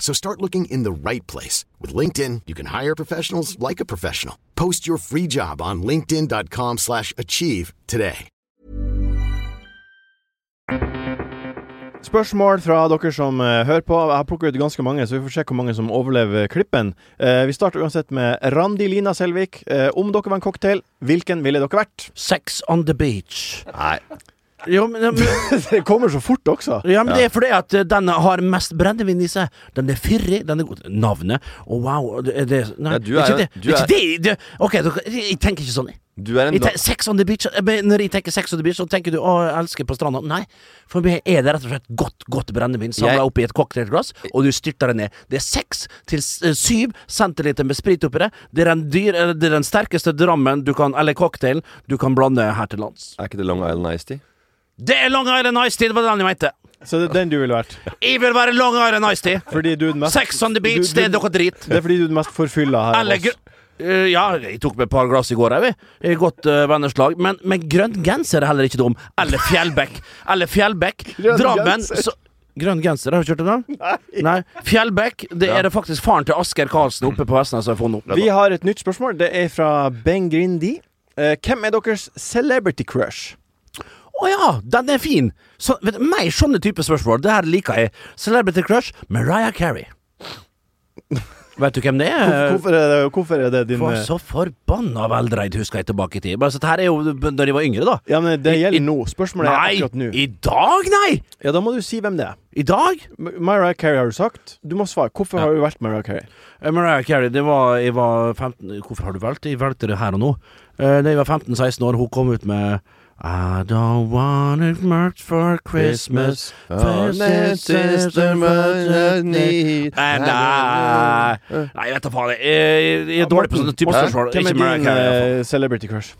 So start looking in the right place. With LinkedIn, you can hire professionals like a professional. Post your free job on linkedin.com/achieve slash achieve today. Spørsmål fra dere som eh, hører på. Jeg har plukket ut ganske mange, så vi får se hvor mange som overlever klippen. Eh, vi starter uansett med Randi Lina Selvik. Eh, om dere var en cocktail, hvilken ville dere vært? Sex on the beach. Nei. Ja, men, men- det kommer så fort også. ja, men det er fordi at eh, den har mest brennevin i seg. Den er fyrig, den er god Navnet Å, wow det, er det, Nei, Ja, du er ikke jo- det. du ikke er- det, det Ok, dere, jeg tenker ikke sånn. Du er en Jeg tenker, sex on the beach eh, men Når jeg tenker sex on the beach, så tenker du å, jeg elsker på stranda. Nei, for meg er det rett og slett godt godt brennevin Jeg- samla opp i et cocktailglass, og du styrter det ned. Det er seks til s- eh, syv centiliter med sprit oppi det. Det er, den dyr, eller det er den sterkeste drammen du kan, eller cocktailen du kan blande her til lands. Er ikke det Long Island Ice Tea? Det er Long Island Ice Tea, det var den jeg mente. Så det er den du ville vært. Jeg vil være Long Island Ice Tea. Fordi du er den mest Sex on the beach, du- det er du- noe drit. Det er fordi du er den mest forfylla her. av Eller oss. gr... Eh, ja, jeg tok meg et par glass i går, jeg, vi. I godt uh, venneslag. Men, men grønn genser er heller ikke dum. Eller Fjellbekk. Eller Fjellbekk. Grønn Drammen genser. så, Grønn genser, har du kjørt den? Nei. Nei. Fjellbekk, det er det faktisk faren til Asker Karlsen oppe på Vestnes som har funnet opp. Vi har et nytt spørsmål. Det er fra Ben Grindi. Eh, hvem er deres celebrity crush? Å ja, den er fin! Så, vet, du, meg sånne type spørsmål, det her liker jeg. Celebrity Crush, Mariah Carey. Vet du hvem det er? Hvorfor er det, hvorfor er det din var eh, så forbanna veldreid, husker jeg tilbake i tid. Men altså, det her er jo b- når jeg var yngre, da. Ja, men Det I- gjelder i- nå. Spørsmålet er Nei! akkurat nå. I dag, nei! Ja, Da må du si hvem det er. I dag? M- Mariah Carey har du sagt. Du må svare. Hvorfor har du vært Mariah Carey? Eh, Mariah Carey, det var Jeg var 15 Hvorfor har du valgt det? Jeg valgte det her og nå. Eh, Da jeg var 15-16 år, hun kom ut med I don't want it much for Christmas this is the much I need. And I Nei, jeg vet da faen. Jeg, jeg, jeg er dårlig på sånne typer Morten, spørsmål. Hvem Ikke er Mariah din Carey. i hvert fall. eh, celebrity crush?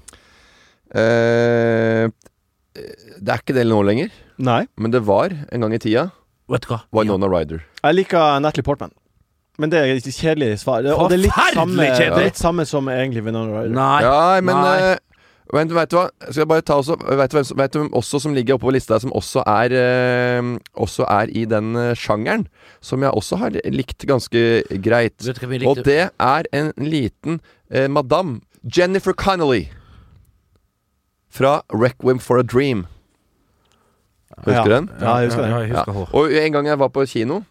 Eh, det er ikke det nå lenger, Nei. men det var en gang i tida. Vet du hva? Winona Ryder. Jeg liker Natalie Portman. Men det er et kjedelig svar. Det- Og det er litt Forferdelig samme, kjedelig! litt samme som egentlig Winona Ryder. Nei. Ja, men nei. eh, Vent, vet du hva? Skal jeg bare ta også Vet du hvem som- vet du hvem også som ligger oppe på lista, som også er eh, Også er i den eh, sjangeren? Som jeg også har likt ganske greit. Vet du hva vi likte? Og det er en liten eh, madam Jennifer Connolly fra Requiem for a Dream. Husker du den? Ja, jeg husker Ja, den. jeg Ja. husker hår. Og en gang jeg var på kino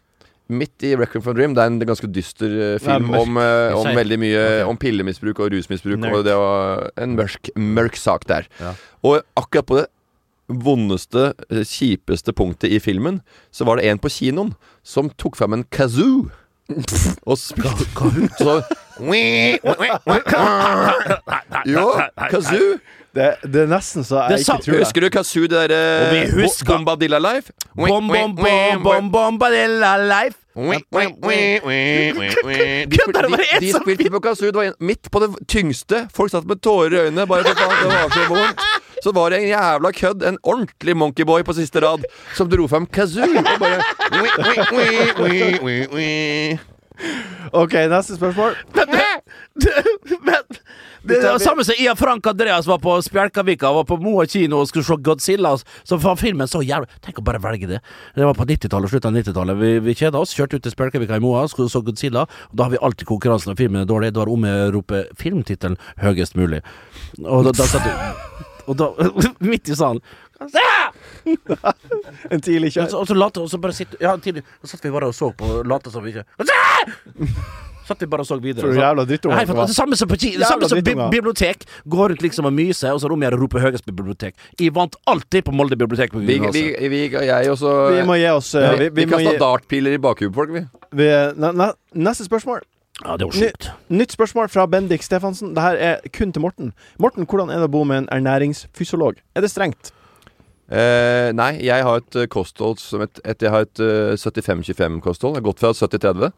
Midt i Requiem for a Dream Det er en ganske dyster eh, film mørk. om, eh, om Skeiv. veldig mye Om pillemisbruk og rusmisbruk Mørk. Og det var en mørk, mørk sak der Ja. Og akkurat på det vondeste, eh, kjipeste punktet i filmen Så var det en på kinoen Som tok frem en kazoo Og spilte så, Jo, kazoo Det, det er nesten så Det jeg sa- ikke tror det. Husker du kazoo det Og der vi eh, bo- husker- Bombadilla Life Bom, bom, bom, bom, bom, badilla life. Kødder sånn det var det De en som spilte på kazoo. Det var en, midt på det tyngste. Folk satt med tårer i øynene. Bare for faen, det var så vondt. Så var det en jævla kødd, en ordentlig monkeyboy på siste rad, som dro fram kazoo. Og bare OK, neste spørsmål. Men det er det samme som Ian Frank Andreas var på Spjelkavika, var på Moa kino og skulle se Godzilla. Så var filmen så jævlig Tenk å bare velge det. Det var på 90-tallet, slutten av 90-tallet. Vi, vi kjeda oss, kjørte ut til Spjelkavika i Moa, skulle se Godzilla. Og da har vi alltid konkurransen når filmen er dårlig. Da er det om å rope filmtittelen høyest mulig. Og da, da satt du Og da, midt i salen En tidlig ja, kjør. så, og så late, og så bare sitte Ja, tidlig Så satt vi bare og så på og Late som vi ikke Satt vi bare og så videre For du så- jævla drittunger. Nei, for det samme som, på, ki- det samme som bi drittunger. bibliotek Går rundt liksom og myser Og så rommer jeg og roper Høgest bibliotek Jeg vant alltid på Molde bibliotek på Vi, vi, gymnaset. vi jeg også Vi må gi oss. eh, vi, Vi, vi må gi, kasta dartpiler i bakhuet på folk, vi. vi, ne, ne, neste spørsmål. Ja, det var Ny, sjukt nytt spørsmål fra Bendik Stefansen. Dette er kun til Morten. Morten, hvordan er det å bo med en ernæringsfysiolog? Er det strengt? Eh, nei, jeg har et eh, kosthold som et, et Jeg har et eh, 75-25-kosthold. Jeg har gått fra 70-30.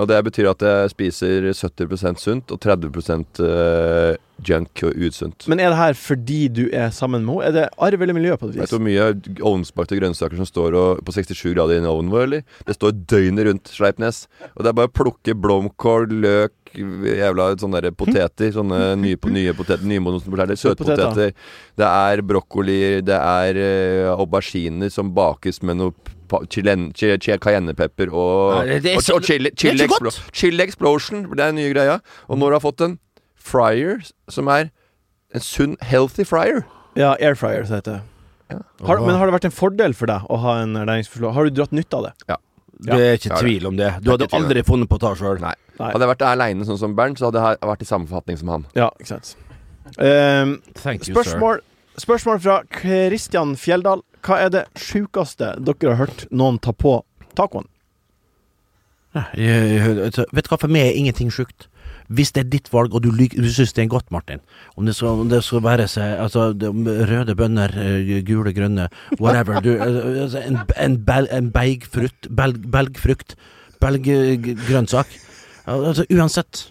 Og det betyr at jeg spiser 70 sunt og 30 eh, junk og usunt. Men er det her fordi du er sammen med henne? Er det arv eller miljø på det Vet vis? du hvor mye ovnsbakte grønnsaker som står og, på 67 grader i en ovn, vår, eller? Det står døgnet rundt Sleipnes. Og det er bare å plukke blomkål, løk, jævla sånne der Hm? poteter. Sånne nye, po- nye poteter, nymodens poteter, søtpoteter. Det er brokkoli, det er eh, auberginer som bakes med noe pa- chilen- chi- chi- cayennepepper og, Nei, det er og, så- og chili, er chili, så godt! explo, chili explosion. Det er den nye greia. Og når du har fått en fryer, som er en sunn, healthy fryer Ja, air fryer, så heter det. Har, men har det vært en fordel for deg å ha en ernæringsfysiolog? Har du dratt nytte av det? Det er ikke Ja, det- tvil om det Du hadde ikke tvil om aldri funnet på å ta selv Nei. Nei. Hadde jeg vært aleine sånn som Bernt, så hadde jeg vært i samme forfatning som han. Ja, ikke sant. Ehm, Thank you, sir. spørsmål, spørsmål fra Kristian Fjelldal. Hva er det sjukeste dere har hørt noen ta på tacoen? Jeg- jeg- jeg- jeg- Vet du hva, for meg er ingenting sjukt. Hvis det er ditt valg, og du, lik- du syns det er godt, Martin Om det skal, om det skal være seg, altså, det- om røde bønner, eh, gule, grønne, whatever du, eh, altså, En, en, bel, en beigfrukt belg, Belgfrukt. Belggrønnsak. Altså, uansett.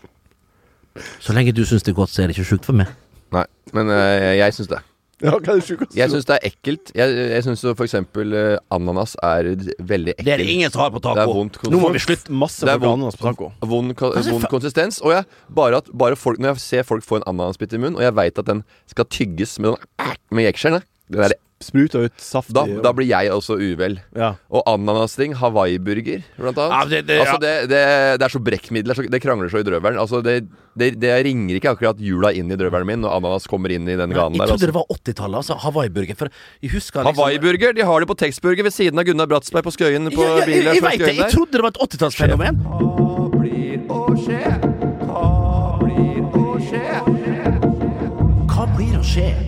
Så lenge du syns det er godt, så er det ikke sjukt for meg. Nei, men eh, jeg syns det. Ja, hva er det sjukeste? Jeg syns det er ekkelt. Jeg, jeg syns for eksempel eh, ananas er d- veldig ekkel. som har på Det er vondt. Nå må vi slutte. Masse Det er folk har vondt. ananas på taco. Vond, ko- vond konsistens. Og jeg, bare at bare folk, når jeg ser folk få en ananasbit i munnen, og jeg veit at den skal tygges med, den- med jekselen, den der- Spruta ut saftig da, da blir jeg også uvel. ja. Og ananasting, hawaiiburger, blant annet. Ja, det- det- altså, det, det, det er så brekkmiddel. det er så- Det krangler så i drøvelen. Altså, det, det, det ringer ikke akkurat jula inn i drøvelen min når ananas kommer inn i den ganen Jeg der. trodde Altså. det var 80-tallet, altså. Hawaiiburger. For jeg husker liksom Hawaiiburger, de har det på Texburger ved siden av Gunnar Bratsberg på Skøyen. På Ja, ja, jeg, bilen jeg, fra vet det. Skøyen der. Jeg trodde det var et 80-tallsfenomen. Hva blir å skje? Hva blir å skje? Hva blir å skje?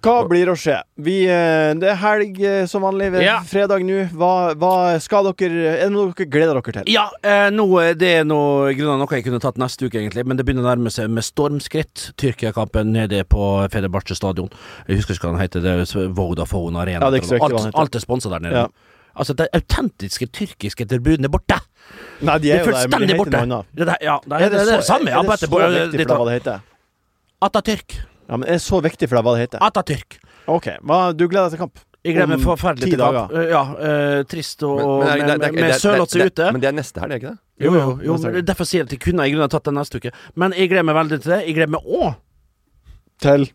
Hva blir å skje? Vi, eh, det er helg eh, som vanlig. Det er Ja. Fredag nå. Hva, hva skal dere Er det noe dere gleder dere til? Ja, eh, nå, eh, det er noe, grunnen, noe jeg kunne tatt neste uke, egentlig, men det begynner å nærme seg med stormskritt. Tyrkia-kampen nede på Fenerbahçe stadion. Jeg husker ikke hva den heter. Det er Vodafone Arena. Ja, det er ikke så viktig hva den alt, heter. alt er sponsa der nede. Ja. Altså, de autentiske tyrkiske tilbudene er borte! Nei, de Det er er jo der, men de fullstendig heter borte! noe annet. Det, der- ja, det, er, det, er det så- samme. Ja, er det bare så viktig etterpå- for deg hva det heter? Atatürk. Ja, men er det så viktig for deg hva det heter? Atatürk. Ok, hva, Du gleder deg til kamp? Jeg gleder meg Om forferdelig Mm, ti til kamp. dager. Eh, Ja, eh, trist og Men- men er- det- med, det- med, det- med det- Sørloth det- ute. Men det er neste helg, er det ikke det? Jo, jo, jo, neste gang. Derfor sier jeg at jeg kunne i grunnen ha tatt det neste uke. Men jeg gleder meg veldig til det. Jeg gleder meg òg Til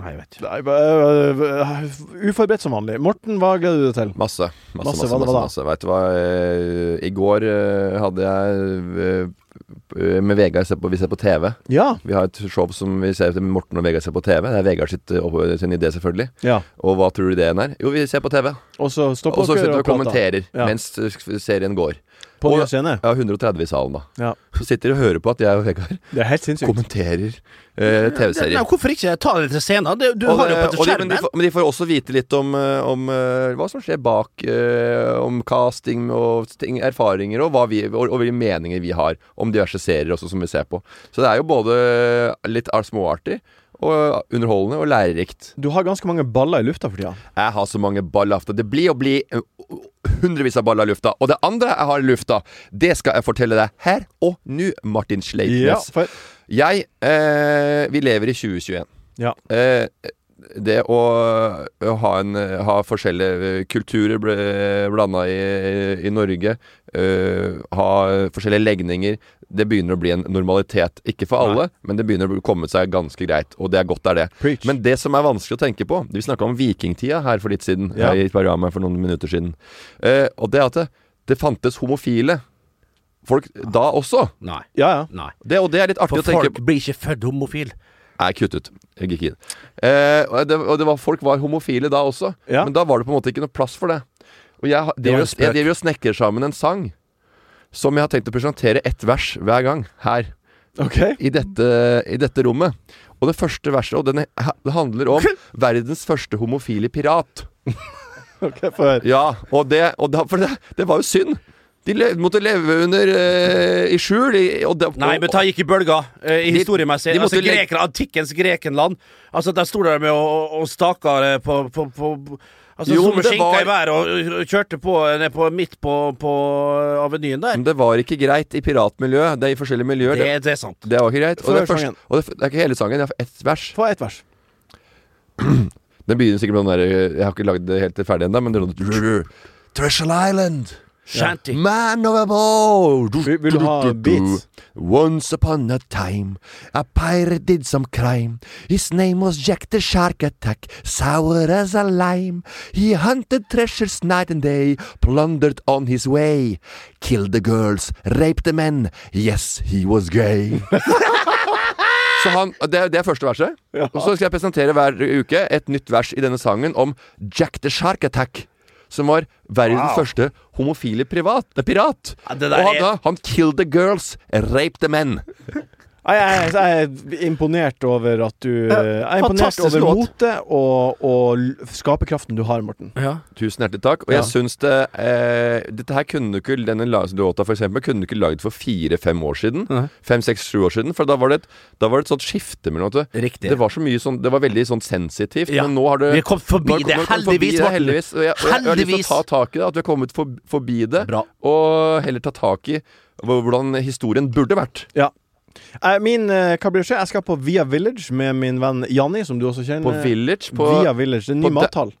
Nei, jeg vet ikke. Nei, øh, øh, uforberedt som vanlig. Morten, hva gleder du deg til? Masse. Masse, Masse, masse, hva masse. da, hva masse, da? Vet du hva, eh, i går eh, hadde jeg eh, med Vegard se på, Vi ser på TV. Ja. Vi har et show som vi ser til Morten og Vegard ser på TV. Det er Vegard sitt, eh, opp- sin idé, selvfølgelig. ja. Og hva tror du ideen er? Jo, vi ser på TV. Og så Og stopper så sitter vi og prater. kommenterer Ja. mens eh, serien går. På og- ny scene. Ja, 130 i salen, da. Ja. Så sitter de og hører på at jeg og Vegard Det er helt sinnssykt. kommenterer eh, TV-serier. Nei, hvorfor ikke ta det til scenen? Det, du Og har jo det- på og de, men, de skjermen. får, men de får også vite litt om, eh, om eh, hva som skjer bak, eh, om casting og ting, erfaringer, og, hva vi, og, og hvilke meninger vi har om diverse serier også som vi ser på. Så det er jo både litt ar- småartig, og underholdende og lærerikt. Du har ganske mange baller i lufta for tida. Jeg har så mange baller i lufta. Det blir å bli eh, hundrevis av baller i lufta. Og det andre jeg har i lufta, det skal jeg fortelle deg her og nå, Martin Ja, Sleipnes. for Jeg eh, Vi lever i 2021. Ja. Eh, det å, å ha, en, ha forskjellige eh, kulturer ble, blanda i, i Norge, eh, ha forskjellige legninger Det begynner å bli en normalitet. Ikke for alle, men det begynner å komme seg ganske greit. Og det er godt det er det. Preach. Men det som er vanskelig å tenke på Vi snakka om vikingtida her for litt siden. Ja. her I programmet for noen minutter siden. Eh, og det at det, det fantes homofile folk da også. Nei. ja, ja. Nei. Det, og det er litt artig å For tenke på. folk blir ikke født homofil. Jeg kutt ut. Jeg gikk inn. Eh, og det, og det var, folk var homofile da også, Ja. men da var det på en måte ikke noe plass for det. Og jeg, har- var driver, en og- jeg spøk. driver og snekker sammen en sang som jeg har tenkt å presentere ett vers hver gang her OK. i dette, i dette rommet. Og det første verset og den, det handler om verdens første homofile pirat. ok, Få høre. Ja, og det, og da, for det, det var jo synd. De le, måtte leve under eh, i skjul. I, og det, Nei, og- men ta gikk i bølger, eh, i De- historiemessig. de måtte altså, legge- greker, Antikkens Grekenland. Altså, der sto de med og, og staka eh, på, på, på Altså, Jo, som men det skinka var- i været og, og kjørte på, eh, ned på midt på, på eh, avenyen der. men det var ikke greit i piratmiljøet. Det er i forskjellige miljøer. Det, det er sant. Det var ikke greit. Og Få det, høre første, sangen. og det, f- det er ikke hele sangen, det er ett vers. Få ett vers. Den begynner sikkert med den der eh, Jeg har ikke lagd det helt ferdig ennå, men det er noe Treasure Island, Shanty. man of a bow Vil- vil du ha beats? Once upon a time, a pirate did some crime. His name was Jack the Shark Attack, sour as a lime. He hunted treasures night and day, plundered on his way. Killed the girls, raped the men. Yes, he was gay. Så han, det, er- det er første verset. Og så skal jeg presentere hver uke et nytt vers i denne sangen om Jack the Shark Attack. Som var verdens første homofile privat, eh, pirat. Ja, det der og han, er- da, han killed the girls, raped the men. Nei, Jeg, jeg, jeg er imponert over at du Jeg er imponert fantastisk over låt. motet og, og l- skaperkraften du har, Morten. Ja. Tusen hjertelig takk. Og jeg syns det eh, Dette her kunne du ikke Denne la- låta, for eksempel, kunne du ikke lagd for fire-fem år siden. Fem-seks-sju år siden. For da var det et, da var det et sånt skifte mellom at det- Riktig. Det var så mye sånn Det var veldig sånn sensitivt. Ja. Men nå har det Vi har kommet forbi nå har- det, nå har vi kommet heldigvis, det, Morten. heldigvis. Og jeg, og jeg, jeg har lyst til å Heldigvis. ta tak i det. At vi har kommet for, forbi det. Bra. Og heller ta tak i hvor- hvordan historien burde vært. Ja. Eh, Min, eh, hva blir det skje? Jeg skal på Via Village med min venn Janni, som du også kjenner. På Village. På, Via Village. Det er ny på de- eh, mathall.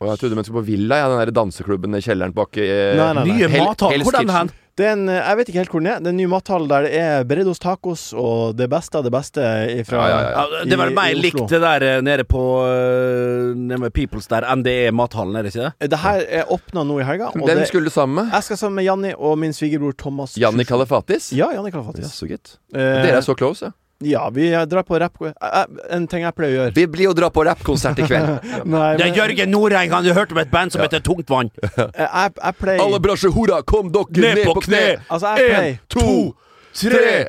Å, jeg trodde du mente på Villa, ja, den der danseklubben i kjelleren bak eh, Nei, nei, nei. Nye Hell- mathall. Hell's Hvordan Kitchen. hen? Det er en, eh, jeg vet ikke helt hvor den er. Det er en ny mathall der det er Beredos tacos og det beste av det beste fra Ja, ja, ja. Ja, det var i- mer i Oslo. likt det der eh, nede på eh, nede med Peoples der enn det er mathallen, er det ikke det? Det her er åpna nå i helga. Og Hvem det, skulle du sammen med? jeg skal sammen med Janni og min svigerbror Thomas. Janni Kalafatis? Ja, Janni Kalafatis. så gitt. Eh, Dere er så close, ja. Ja, vi eh, drar på rap... eh, eh, En ting jeg pleier å gjøre. Vi blir jo dra på rappkonsert i kveld. Nei, Det men, er Jørgen Norheim, han du hørte om et band som heter Tungtvann. eh, jeg, jeg pleier Alle bransjehora, kom dere ned, Ned på kne! Altså, jeg pleier to, tre!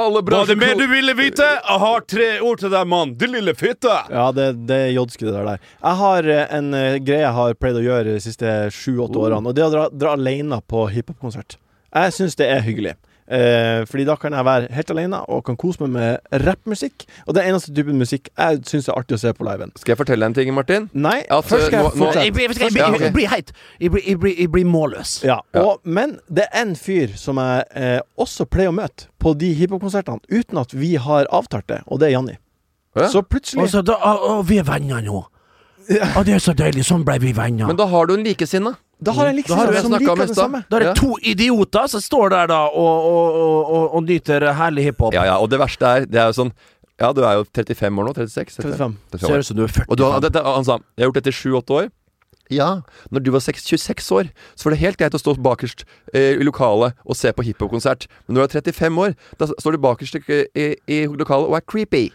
Alle Var det mer bransjehora du ville vite? Jeg har tre ord til deg, mann. Din lille fitte. Ja, det, det er jodske det der der. Jeg har eh, en eh, greie jeg har pleid å gjøre de siste sju-åtte Oh. årene, og det er å dra, dra alene på hiphop-konsert. Jeg syns det er hyggelig. Eh, fordi da kan jeg være helt alene og kan kose meg med rappmusikk. Og det er eneste typen musikk jeg syns er artig å se på liven. Skal jeg fortelle deg en ting, Martin? Nei, At, først skal eh, jeg nå- nå- fortsette. Jeg blir- jeg blir- jeg Ja, blir- ok. jeg blir heit. Jeg blir- Jeg blir- jeg blir målløs. Ja, og, Men det er en fyr som jeg eh, også pleier å møte på de hiphop-konsertene, uten at vi har avtalt det, og det er Janni. Ja. Så plutselig Altså, da, å, å, vi er venner nå. Å, det er så deilig. Sånn ble vi venner. Men da har du en likesinne. Da har jeg liksom Mm. Da har du som snakket om liker i det stad. samme. da er det Ja. to idioter som står der da og, og, og, og, og nyter herlig hiphop. Ja, ja, og det verste er, det er jo sånn Ja, du er jo 35 år nå? 36? 35. Ser ut som du er 40. Og du, han, dette- han sa Jeg har gjort dette i 7-8 år. Ja, når du var 6, 26 år, så var det helt greit å stå bakerst eh, i lokalet og se på hiphop-konsert. Men når du er 35 år, da står du bakerst i, i, i lokalet og er creepy.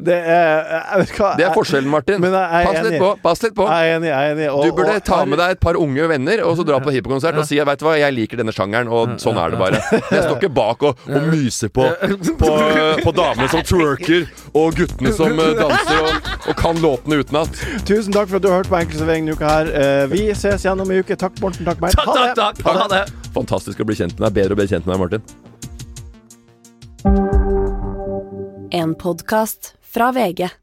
Det er Jeg vet hva Det er jeg- forskjellen, Martin. Men jeg er Pass litt enig. på. pass litt på Jeg er enig. jeg er enig og, Du burde og, ta med deg et par unge venner og så dra på hiphopkonsert og si at vet du hva, jeg liker denne sjangeren, og sånn er det bare. Men jeg står ikke bak og, og myser på, på, på damene som twerker, og guttene som eh, danser og, og kan låtene utenat. Tusen takk for at du har hørt på Enkeltservering denne uka. her Eh, Vi ses igjen om en uke. Takk, Morten. Takk, Bernt. Takk, takk, takk. Ha det. Fantastisk å bli kjent med deg. Bedre å bli kjent med deg, Martin. En podkast fra VG.